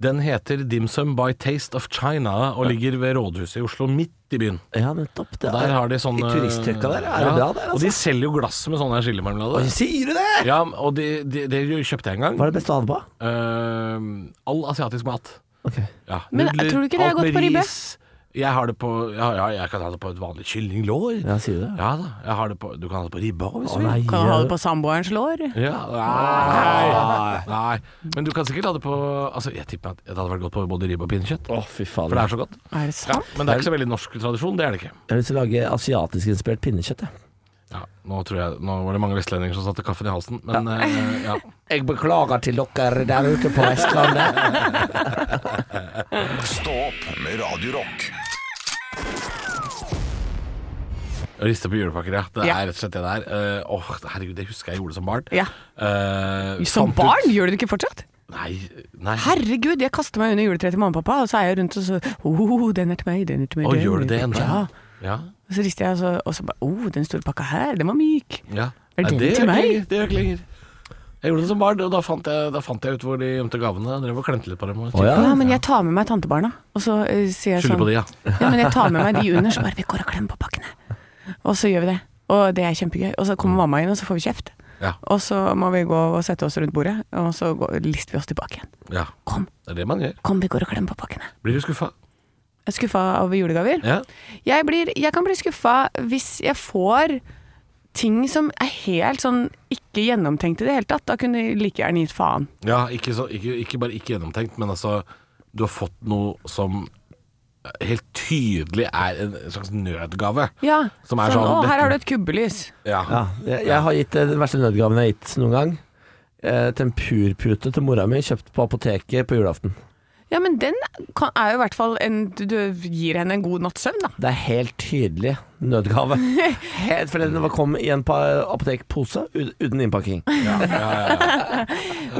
Speaker 1: Den heter Dim Sum by Taste of China og ligger ved rådhuset i Oslo, midt i byen.
Speaker 3: Ja, nettopp. Det
Speaker 1: Der har de sånne
Speaker 3: I turisttøkka der, er
Speaker 1: Ja,
Speaker 3: det bra der,
Speaker 1: Og
Speaker 3: altså?
Speaker 1: de selger jo glass med sånne
Speaker 3: Oi,
Speaker 1: chilimarmelade.
Speaker 3: sier du det?!
Speaker 1: Ja, og det de, de kjøpte jeg en gang.
Speaker 3: Hva er det beste å ha det på?
Speaker 1: Eh, all asiatisk mat.
Speaker 3: Ok.
Speaker 1: Ja,
Speaker 2: Men tror du ikke det er
Speaker 1: alt
Speaker 2: godt
Speaker 1: med
Speaker 2: på ribbe?
Speaker 1: ris. Jeg har det på ja, ja, jeg kan ha det på et vanlig kyllinglår. Ja.
Speaker 3: Ja, sier du det?
Speaker 1: da, jeg har det på Du kan ha det på ribba også, hvis
Speaker 3: Å
Speaker 1: du vil.
Speaker 3: nei,
Speaker 2: Kan du ha det på samboerens lår?
Speaker 1: Ja, nei, nei. Men du kan sikkert ha det på Altså, Jeg tipper at det hadde vært godt på både ribbe og pinnekjøtt.
Speaker 3: Å, fy
Speaker 1: For det
Speaker 3: fader.
Speaker 1: er så godt.
Speaker 2: Er det
Speaker 1: Ja,
Speaker 2: sant?
Speaker 1: men det er ikke så veldig norsk tradisjon, det er det ikke.
Speaker 3: Jeg har lyst til å lage asiatisk-inspirert pinnekjøtt, jeg.
Speaker 1: Ja, nå, tror jeg, nå var det mange vestlendinger som satte kaffen i halsen, men eh, ja.
Speaker 3: Jeg beklager til dere der ute på Vestlandet.
Speaker 5: Stå opp med Radio Rock.
Speaker 1: Riste på julepakker, ja. Det er
Speaker 2: Ja.
Speaker 1: rett og slett det der. Eh, Åh, herregud, det husker jeg gjorde som barn.
Speaker 2: Ja.
Speaker 1: Eh,
Speaker 2: Som
Speaker 1: fant ut-
Speaker 2: barn? Gjør du det ikke fortsatt?
Speaker 1: Nei. nei.
Speaker 2: Herregud, jeg kaster meg under juletreet til mamma og pappa, og så er jeg rundt og så oh, den er til meg, den er til meg.
Speaker 1: Å,
Speaker 2: den
Speaker 1: gjør
Speaker 2: er
Speaker 1: du det
Speaker 2: til
Speaker 1: ennå?
Speaker 2: meg». Ja.
Speaker 1: Ja.
Speaker 2: Og så rister jeg, og så, og så bare oh, den store pakka her, den var myk.
Speaker 1: ja.
Speaker 2: Er
Speaker 1: Nei,
Speaker 2: den
Speaker 1: det gjør
Speaker 2: til
Speaker 1: jeg
Speaker 2: meg?
Speaker 1: ikke lenger, Det gjør jeg ikke lenger. Jeg gjorde det som barn, og da fant jeg, da fant jeg ut hvor de gjemte gavene. Jeg drev og klemte litt på dem. Og
Speaker 3: Å, ja.
Speaker 2: Ja, men jeg tar med meg tantebarna, og så eh, sier jeg
Speaker 1: Ah. Skylder
Speaker 2: sånn
Speaker 1: på de, ja.
Speaker 2: Ja, men jeg tar med meg de under, så bare vi går og klemmer på pakkene. Og så gjør vi det. Og det er kjempegøy. Og så kommer mamma inn, og så får vi kjeft.
Speaker 1: Ja,
Speaker 2: Og så må vi gå og sette oss rundt bordet, og så går, lister vi oss tilbake igjen.
Speaker 1: ja.
Speaker 2: Kom,
Speaker 1: Det er det man gjør.
Speaker 2: kom, vi går og klemmer på pakkene.
Speaker 1: Blir du skuffa?
Speaker 2: Jeg er skuffa av julegaver.
Speaker 1: Ja.
Speaker 2: Jeg, blir, jeg kan bli skuffa hvis jeg får ting som er helt sånn ikke gjennomtenkt i det hele tatt. Da kunne jeg like gjerne gitt faen.
Speaker 1: Ja, ikke, så, ikke, ikke bare ikke gjennomtenkt, men altså Du har fått noe som helt tydelig er en slags nødgave.
Speaker 2: Ja,
Speaker 1: Som er sånn,
Speaker 2: Å,
Speaker 1: dette-
Speaker 2: her har du et kubbelys.
Speaker 1: Ja.
Speaker 3: Ja, jeg, jeg har gitt eh, den verste nødgaven jeg har gitt noen gang. Eh, Tempurpute til mora mi, kjøpt på apoteket på julaften.
Speaker 2: Ja, men den kan, er jo i hvert fall en Du du gir henne en god natts søvn, da.
Speaker 3: Det er helt tydelig nødgave. Helt, for den var- kom i en pa- apotekpose u- uten innpakking.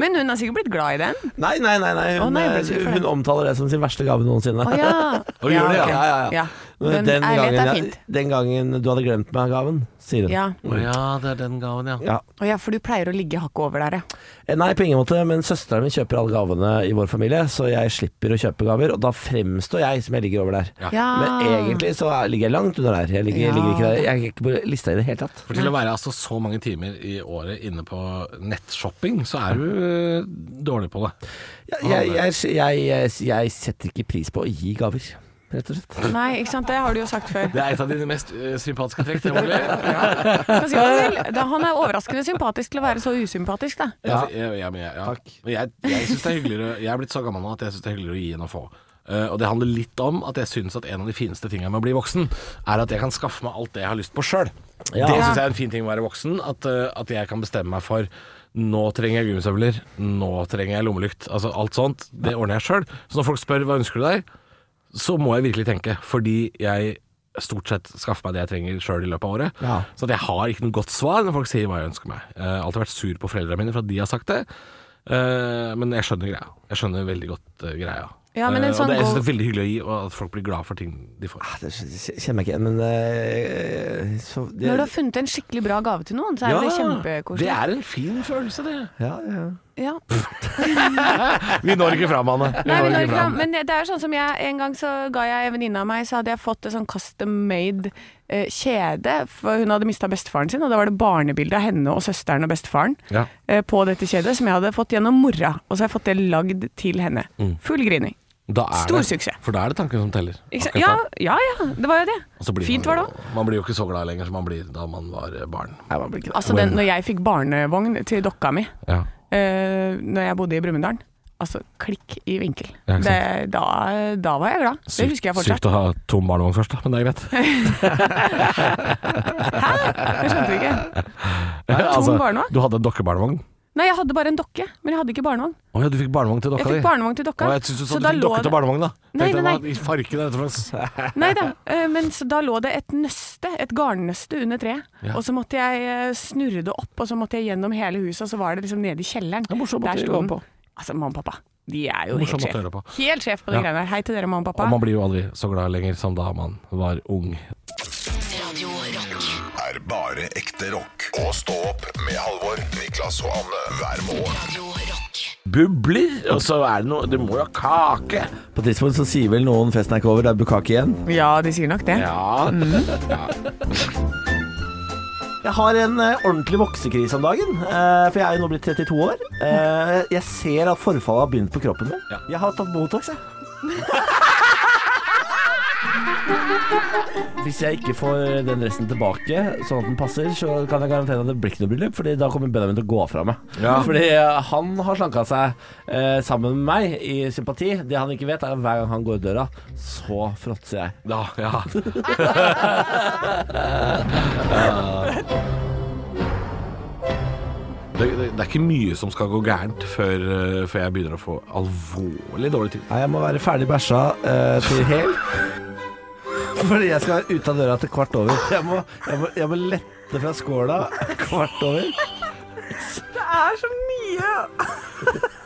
Speaker 2: Men hun har sikkert blitt glad i den.
Speaker 3: Nei, nei, nei. nei. Hun,
Speaker 2: Å, nei, jeg ble
Speaker 3: eh,
Speaker 2: skuffet.
Speaker 3: hun omtaler det som sin verste gave noensinne.
Speaker 2: Å ja.
Speaker 1: Og gjør det, ja.
Speaker 2: ok.
Speaker 3: Ja, ja, ja.
Speaker 2: Den, ærlighet
Speaker 3: gangen,
Speaker 2: er
Speaker 3: jeg-
Speaker 2: fint.
Speaker 3: den gangen du hadde glemt meg-gaven, sier hun.
Speaker 2: Ja.
Speaker 1: Å ja, det er den gaven, ja.
Speaker 3: Ja.
Speaker 2: Å ja, for du pleier å ligge hakket over der, ja.
Speaker 3: Eh, Nei, på ingen måte, men søsteren min kjøper alle gavene i vår familie, så jeg slipper å kjøpe gaver, og da fremstår jeg som jeg ligger over der.
Speaker 2: ja.
Speaker 3: Men egentlig så er- ligger jeg langt under der. Jeg ligger,
Speaker 2: Ah. Ja.
Speaker 3: ligger ikke der. Jeg er ikke på lista i det hele tatt.
Speaker 1: For til å være altså så mange timer i året inne på nettshopping, så er du eh, dårlig på det.
Speaker 3: Jeg, jeg, jeg, jeg, jeg, jeg setter ikke pris på å gi gaver, rett og slett.
Speaker 2: Nei, ikke sant. Det har du jo sagt før.
Speaker 1: Det er et av dine mest eh, sympatiske trekk. Det, Ole. ja.
Speaker 2: Hva sier han vel? Da, han er overraskende sympatisk til å være så usympatisk, da.
Speaker 1: Ja, Altså, jeg, jeg, jeg, ja.
Speaker 3: Takk.
Speaker 1: Men jeg, jeg, synes det er hyggeligere, jeg er blitt så gammel nå at jeg syns det er hyggeligere å gi enn å få. Eh, og det handler litt om at jeg syns at en av de fineste tingene med å bli voksen, er at jeg kan skaffe meg alt det jeg har lyst på sjøl.
Speaker 3: Ja.
Speaker 1: Det syns jeg er en fin ting med å være voksen. At, eh, at jeg kan bestemme meg for nå trenger jeg gummisøvler, nå trenger jeg lommelykt. Altså alt sånt. Det ordner jeg sjøl. Så når folk spør hva ønsker du deg, så må jeg virkelig tenke. Fordi jeg stort sett skaffer meg det jeg trenger sjøl i løpet av året.
Speaker 3: Ja.
Speaker 1: Så at jeg har ikke noe godt svar når folk sier hva jeg ønsker meg. Eh, Jeg har alltid vært sur på foreldrene mine for at de har sagt det. Eh, Men jeg skjønner greia. Jeg skjønner veldig godt eh, greia.
Speaker 2: Ja, men en
Speaker 1: Eh,
Speaker 2: sånn
Speaker 1: og det, jeg synes
Speaker 2: go-
Speaker 1: det er veldig hyggelig å gi, og at folk blir glad for ting de får.
Speaker 3: Ah, Det kjenner jeg ikke igjen, men eh, så, det,
Speaker 2: Når du har funnet en skikkelig bra gave til noen, så er det
Speaker 1: det
Speaker 2: kjempekoselig.
Speaker 1: er en fin følelse, det.
Speaker 3: ja, ja.
Speaker 2: Ja.
Speaker 1: Vi når ikke fram, Anne. Vi
Speaker 2: Nei,
Speaker 1: når
Speaker 2: men,
Speaker 1: ikke fram.
Speaker 2: men det er jo sånn som jeg En gang så ga jeg en venninne av meg Så hadde jeg fått et sånn custom made eh, kjede For hun hadde mistet bestefaren sin Og da var det barnebildet av henne og søsteren og bestefaren
Speaker 1: Ja.
Speaker 2: eh, På dette kjedet som jeg hadde fått gjennom mora Og så har jeg fått det lagd til henne
Speaker 1: Mm.
Speaker 2: Full grining
Speaker 1: Da er
Speaker 2: Stor
Speaker 1: det,
Speaker 2: suksess.
Speaker 1: For da er det tanken som teller.
Speaker 2: Ikke sant?
Speaker 1: Akkurat
Speaker 2: ja,
Speaker 1: da.
Speaker 2: ja, ja, det var jo det
Speaker 1: Og så blir
Speaker 2: Fint
Speaker 1: man,
Speaker 2: var det
Speaker 1: jo-
Speaker 2: også
Speaker 1: Man blir jo ikke så glad lenger som man blir da man var eh, barn.
Speaker 3: Nei, man blir ikke det.
Speaker 2: Altså den, når jeg fikk barnevogn til dokka mi
Speaker 1: Ja.
Speaker 2: eh, Når jeg bodde i Brumunddalen Altså klikk i vinkel
Speaker 1: Ja, ikke sant.
Speaker 2: det, da, da var jeg glad Det husker jeg fortsatt
Speaker 1: Sykt å ha tom barnevogn først, da, men det er greit.
Speaker 2: Hæ? Jeg skjønte det ikke. Tom barnevogn?
Speaker 1: Du Altså, hadde en dokkebarnevogn?
Speaker 2: Nei, jeg hadde bare en dokke, men jeg hadde ikke barnevogn.
Speaker 1: Å ja, du fikk barnevogn til dokka
Speaker 2: Jeg fikk barnevogn til dokka.
Speaker 1: Å, jeg syns du
Speaker 2: Så
Speaker 1: sa du
Speaker 2: da
Speaker 1: fikk
Speaker 2: lå
Speaker 1: dokke
Speaker 2: det-
Speaker 1: til barnevogn, da.
Speaker 2: Nei,
Speaker 1: Tenkte
Speaker 2: nei,
Speaker 1: jeg, hva i Farken er dette for noe?
Speaker 2: Nei da, eh, men så da lå det et nøste, et garnnøste under treet. Og så måtte jeg eh, snurre det opp, og så måtte jeg gjennom hele huset, og så var det liksom nede i kjelleren.
Speaker 1: er morsom måte å gå på.
Speaker 2: Altså, mamma og pappa, de er jo
Speaker 1: Morsom
Speaker 2: helt
Speaker 1: måte å
Speaker 2: sjef.
Speaker 1: gjøre det
Speaker 2: Helt sjef på de
Speaker 1: Ja.
Speaker 2: greiene her. Hei til dere, mamma og pappa.
Speaker 1: Og man blir jo aldri så glad lenger som da man var ung.
Speaker 4: Radio Rock.
Speaker 5: er bare ekte rock. Og stå opp med Halvor, Niklas og Anne hver morgen.
Speaker 4: Radio Rock.
Speaker 6: Bubler, og så er det noe Det må jo ha kake.
Speaker 3: På tidspunkt så sier vel noen festen er ikke over, det er bukkake igjen.
Speaker 2: Ja, de sier nok det.
Speaker 6: Ja.
Speaker 3: Jeg har en eh, ordentlig voksekrise om dagen, eh, for jeg er jo nå blitt 32 år. Eh, jeg ser at forfallet har begynt på kroppen min.
Speaker 1: Ja.
Speaker 3: Jeg har tatt Botox, jeg. Hvis jeg ikke får den resten tilbake, sånn at den passer, så kan jeg garantere at det blir ikke noe bryllup, Fordi da kommer Benjamin til å gå fra meg. Fordi eh, han har slanka seg eh, sammen med meg i sympati. Det han ikke vet, er at hver gang han går ut døra, så fråtser jeg.
Speaker 1: Da, ja. Det, det, det er ikke mye som skal gå gærent før, eh, før jeg begynner å få alvorlig dårlig tid.
Speaker 3: Nei, jeg må være ferdig bæsja eh, til hel. Fordi jeg skal ut av døra til kvart over. Jeg må, jeg må, jeg må lette fra skåla kvart over.
Speaker 2: Det er så mye!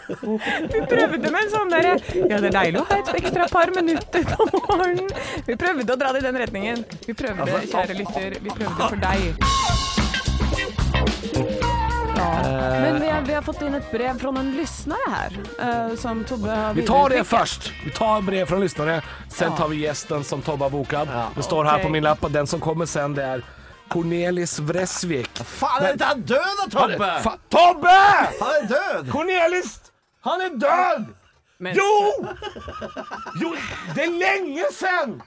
Speaker 2: Vi prøvde med en sånn derre Ja, det er deilig å ha et ekstra par minutter på morgenen. Vi prøvde å dra det i den retningen. Vi prøvde,
Speaker 1: Altså-
Speaker 2: kjære lytter. Vi prøvde for deg. Ja. Men vi, har- vi har fått inn et brev fra noen lyttere her. eh, som Tobbe har
Speaker 1: Vi tar det
Speaker 2: videreutviklet.
Speaker 1: først. Vi tar brev fra lyssnare. Sen tar vi gjesten som Tobbe har bokat. Det står her
Speaker 2: Okej.
Speaker 1: på min lapp at den som kommer sen, det er Cornelis Vresvik.
Speaker 3: Faen, er dette er død da, Tobbe!
Speaker 1: Fa- Tobbe!
Speaker 3: Han er død!
Speaker 1: Cornelis! Han er død!
Speaker 2: Men-
Speaker 1: Jo! Jo, det er lenge sen!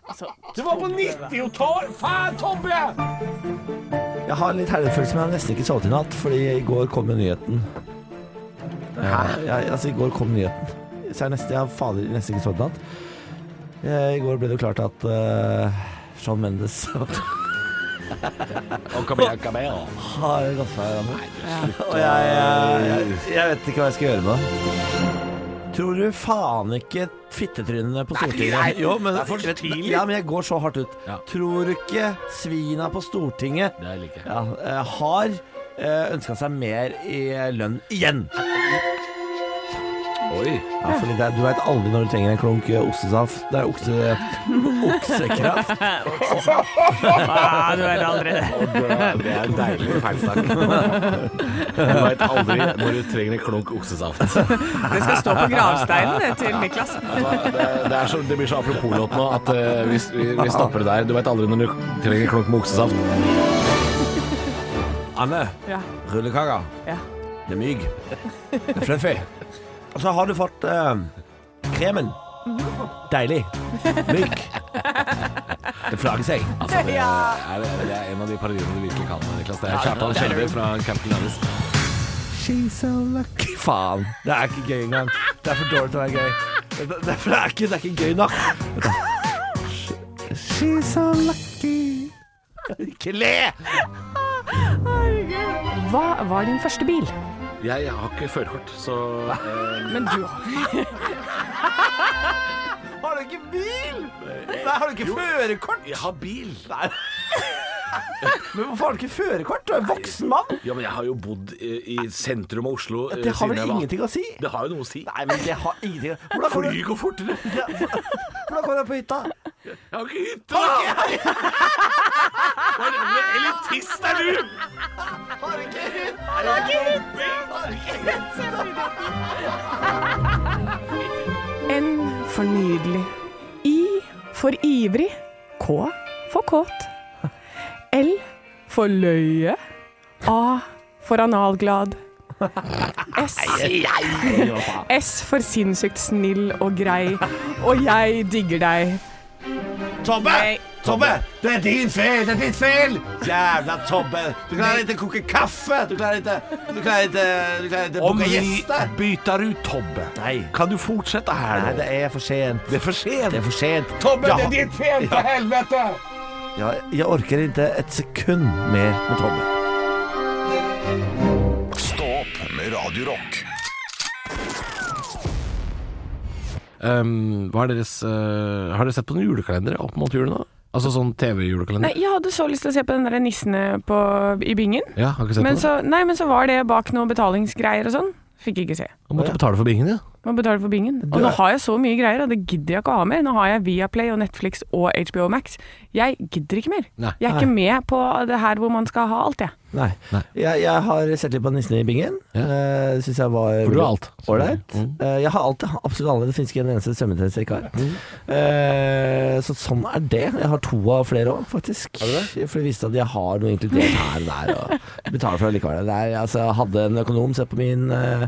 Speaker 1: Det var på 90-tallet! Faen, Tobbe!
Speaker 3: Jeg har en litt helgefølelse, men jeg har nesten ikke sovet i natt, fordi i går kom jo nyheten. Hæ? Jeg, altså, i går kom nyheten. Så jeg, nesten, jeg har fader nesten ikke sovet i natt. Eh, I går ble det jo klart at eh, Shawn Mendes har gått fra hverandre. Og jeg, jeg, jeg vet ikke hva jeg skal gjøre med det. Tror du faen ikke fittetrynene på Stortinget Jo, men,
Speaker 1: det er for tidlig.
Speaker 3: Ja, men jeg går så hardt ut.
Speaker 1: Ja.
Speaker 3: Tror du ikke svina på Stortinget
Speaker 1: Det liker jeg.
Speaker 3: ja, eh, har ønska seg mer i eh, lønn igjen?
Speaker 1: Oi.
Speaker 3: Ja, fordi det, er- du veit aldri når du trenger en klunk eh, oksesaft. Det er okse, oksekraft.
Speaker 2: Ja, du Ah, er aldri det.
Speaker 1: Det er en deilig feilstart. Du veit aldri når du trenger en klunk oksesaft.
Speaker 2: Det skal stå på gravsteinen det, til Niklas.
Speaker 1: Det, det, er så, det blir så apropos-låt nå at eh, vi, vi, vi stopper det der. Du veit aldri når du trenger en klunk med oksesaft.
Speaker 3: Anne,
Speaker 2: Ja.
Speaker 3: rullekaka.
Speaker 2: Ja.
Speaker 3: Det er myg. Det er fluffy. Og så har du fått eh, kremen. Mhm. Deilig. Myk. Det flager seg.
Speaker 1: Altså, det, er, det er en av de parodiene du virkelig kan, Niklas. Det er Kjartan Skjelve fra Captain Lavis.
Speaker 3: She's so lucky. Faen. Det er ikke gøy engang. Det er for dårlig til å være gøy. Det, det, det, er, ikke, det er ikke gøy nok. Vent da. She's so lucky. Ikke le!
Speaker 2: Hva var din første bil?
Speaker 1: Jeg har ikke førerkort, så eh,
Speaker 2: Men du
Speaker 3: Har du ikke bil? Nei, har du ikke førerkort?
Speaker 1: Jeg har bil!
Speaker 3: Nei. Men hvorfor har du ikke førerkort? Du er en voksen mann.
Speaker 1: Ja, men jeg har jo bodd i, i sentrum av Oslo eh,
Speaker 3: Det har
Speaker 1: siden
Speaker 3: vel
Speaker 1: jeg var-
Speaker 3: ingenting å si?
Speaker 1: Det har jo noe å si.
Speaker 3: Nei, men det har ingenting å- Hvordan kom
Speaker 1: Fly
Speaker 3: du
Speaker 1: går fortere!
Speaker 3: Ja, Hvordan kom du på hytta?
Speaker 1: Jeg har ikke hytte, da! Hva er det med elitist er du?
Speaker 2: N for nydelig. I for ivrig. K for kåt. L for løye. A for analglad. S, S for sinnssykt snill og grei. Og jeg digger deg.
Speaker 3: Tobbe!
Speaker 2: Nei.
Speaker 3: Tobbe! Det er din feil! Det er ditt feil! Jævla Tobbe! Du klarer ikke å koke kaffe! Du klarer ikke Du klarer ikke Du klarer ikke å
Speaker 1: Om
Speaker 3: booke
Speaker 1: vi
Speaker 3: gjester!
Speaker 1: bytter ut Tobbe,
Speaker 3: Nei.
Speaker 1: kan du fortsette her
Speaker 3: Nei,
Speaker 1: nå?
Speaker 3: det er for sent.
Speaker 1: Det er for
Speaker 3: Det er
Speaker 1: sent.
Speaker 3: for sent.
Speaker 1: Tobbe,
Speaker 3: Ja.
Speaker 1: det er ditt fel, for helvete!
Speaker 3: Ja, jeg orker ikke et sekund mer med Tobbe.
Speaker 5: Stå opp med Radio Rock.
Speaker 1: Um, hva er deres, eh, har dere sett på noen julekalendere opp mot jul nå? Altså sånn
Speaker 2: Nei,
Speaker 1: TV-julekalender?
Speaker 2: jeg hadde så lyst til å se på den der nissene på, i bingen.
Speaker 1: Ja, har ikke sett
Speaker 2: Men
Speaker 1: på det?
Speaker 2: så, nei, men så var det bak noen betalingsgreier og sånn. Fikk ikke se.
Speaker 1: Man måtte betale for bingen, ja.
Speaker 2: Man betaler for bingen. Og nå har jeg så mye greier, og det gidder jeg ikke å ha mer. Nå har jeg Viaplay og Netflix og HBO Max. Jeg gidder ikke mer.
Speaker 1: Nei.
Speaker 2: Jeg er ikke med på det her hvor man skal ha alt, jeg.
Speaker 3: Nei.
Speaker 1: Nei.
Speaker 3: Jeg, jeg har sett litt på Nissene i bingen.
Speaker 1: Ja.
Speaker 3: Eh, Det syns jeg var
Speaker 1: For du har
Speaker 3: veldig
Speaker 1: alt.
Speaker 3: Ålreit. Eh, Jeg har alt, jeg. absolutt alle. Det finnes ikke en eneste svømmetrese jeg ikke har.
Speaker 1: Mm.
Speaker 3: Eh, Så sånn er det. Jeg har to av flere òg, faktisk. For det viste at jeg har noe inkludert her og der, og betaler for det likevel. Det er- altså, jeg hadde en økonom, se på min eh,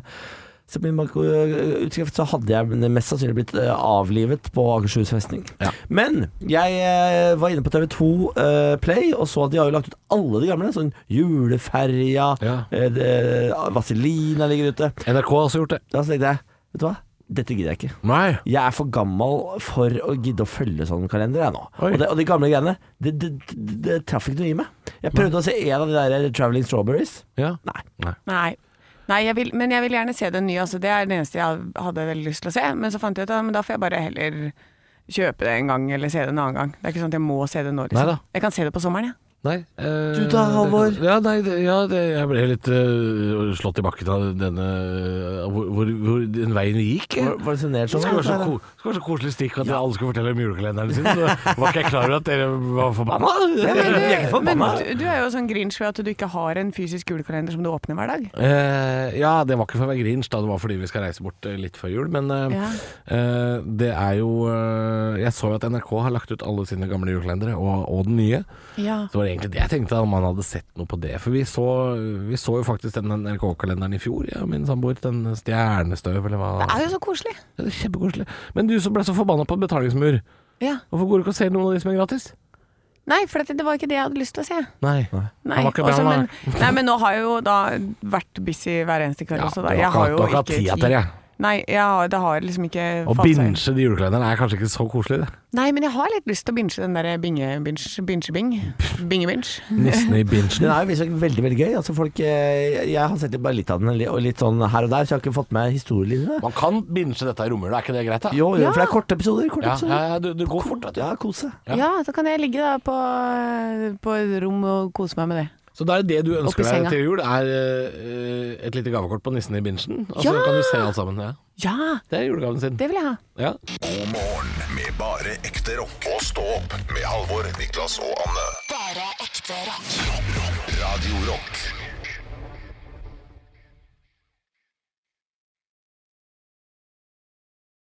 Speaker 3: se på min bankoutskrift, øh, så hadde jeg mest sannsynlig blitt eh, avlivet på Akershus festning. Men jeg eh, var inne på TV2 eh, Play og så at de har jo lagt ut alle de gamle. Sånn Juleferja,
Speaker 1: Ja.
Speaker 3: eh, det- Vaselina ligger ute.
Speaker 1: NRK har også gjort det.
Speaker 3: Da tenkte jeg, vet du hva, dette gidder jeg ikke.
Speaker 1: Nei.
Speaker 3: Jeg er for gammel for å gidde å følge sånn kalender jeg nå.
Speaker 1: Oi.
Speaker 3: Og, det, og de gamle greiene, det, det, det, det traff ikke noe i meg. Jeg prøvde å se en av de der øh, Traveling Strawberries.
Speaker 1: Ja.
Speaker 3: Nei.
Speaker 2: Nei. Nei, jeg vil, men jeg vil gjerne se den nye. Altså, det er det eneste jeg hadde veldig lyst til å se. Men så fant jeg ut at men da får jeg bare heller kjøpe det en gang, eller se det en annen gang. Det er ikke sånn at jeg må se det nå. Liksom.
Speaker 1: Neida.
Speaker 2: Jeg kan se det på sommeren, jeg.
Speaker 1: Nei eh,
Speaker 3: Du da, Halvor?
Speaker 1: Ja, nei, det- ja det, jeg ble litt eh, slått i bakken av denne av hvor, hvor, hvor den veien vi gikk. jeg.
Speaker 3: Var, var det signert
Speaker 1: Det
Speaker 3: sånn?
Speaker 1: skulle være så, ko
Speaker 3: eller?
Speaker 1: det skulle være så koselig stikk at alle skulle fortelle om julekalenderen sin. Så var ikke jeg klar over at dere var forbanna.
Speaker 3: Ja, men det- Vi er ikke
Speaker 2: Men
Speaker 3: forbanna.
Speaker 2: du, du er jo sånn grinch ved at du ikke har en fysisk julekalender som du åpner hver dag.
Speaker 1: Eh, ja, det var ikke for å være grinch, da. Det var fordi vi skal reise bort eh, litt før jul. Men eh,
Speaker 2: Ja.
Speaker 1: eh, det er jo eh, Jeg så jo at NRK har lagt ut alle sine gamle julekalendere, og, og den nye.
Speaker 2: Ja.
Speaker 1: Så var det egentlig det jeg tenkte, om man hadde sett noe på det. For vi så, vi så jo faktisk den NRK-kalenderen i fjor, jeg og min samboer. Den Stjernestøv, eller hva.
Speaker 2: Det er jo så koselig.
Speaker 1: Ja, det er Kjempekoselig. Men du som ble så forbanna på betalingsmur,
Speaker 2: Ja.
Speaker 1: hvorfor går du ikke og ser noen av de som er gratis?
Speaker 2: Nei, for dette- det var ikke det jeg hadde lyst til å se.
Speaker 1: Nei.
Speaker 2: Nei,
Speaker 1: Han var ikke bra,
Speaker 2: også,
Speaker 1: nei.
Speaker 2: men, nei, men nå har jeg jo da vært busy hver eneste kveld.
Speaker 1: Ja,
Speaker 2: også,
Speaker 1: du
Speaker 2: da.
Speaker 1: har
Speaker 2: Jeg
Speaker 1: ikke
Speaker 2: har
Speaker 1: hatt-
Speaker 2: jo
Speaker 1: du har ikke hatt
Speaker 2: ikke
Speaker 1: tid til det.
Speaker 2: Nei, jeg har, det har liksom ikke
Speaker 1: Å
Speaker 2: falt seg inn.
Speaker 1: binche de julekalenderne er kanskje ikke så koselig, det.
Speaker 2: Nei, men jeg har litt lyst til å binche den der binge-binge-bing. Binge-binge.
Speaker 1: Nissene i bingen.
Speaker 3: Den er jo visstnok veldig veldig gøy. Altså folk, eh, jeg har sett litt- bare litt av den, og litt sånn her og der, så jeg har ikke fått med historielinjene.
Speaker 1: Man kan binche dette i romjula, er ikke det greit, da?
Speaker 3: Jo, jo,
Speaker 2: Ja.
Speaker 3: for det er korte episoder. Korte
Speaker 1: Ja, ja,
Speaker 3: episoder.
Speaker 1: ja du, du går fort, vet du.
Speaker 3: Ja, kose.
Speaker 2: Ja. så kan jeg ligge da på, på et rom og kose meg med det.
Speaker 1: Så da er det det du
Speaker 2: Opp i
Speaker 1: ønsker deg
Speaker 2: senga.
Speaker 1: til jul, er eh, et lite gavekort på nissen i bingen? Og så
Speaker 2: Ja!
Speaker 1: kan du se alt sammen. Ja.
Speaker 2: Ja,
Speaker 1: Det er julegaven sin.
Speaker 2: det vil jeg ha.
Speaker 1: Ja.
Speaker 5: God morgen med bare ekte rock. Og stå opp med Halvor, Niklas og Anne.
Speaker 4: Bare ekte rock.
Speaker 5: Radio Rock.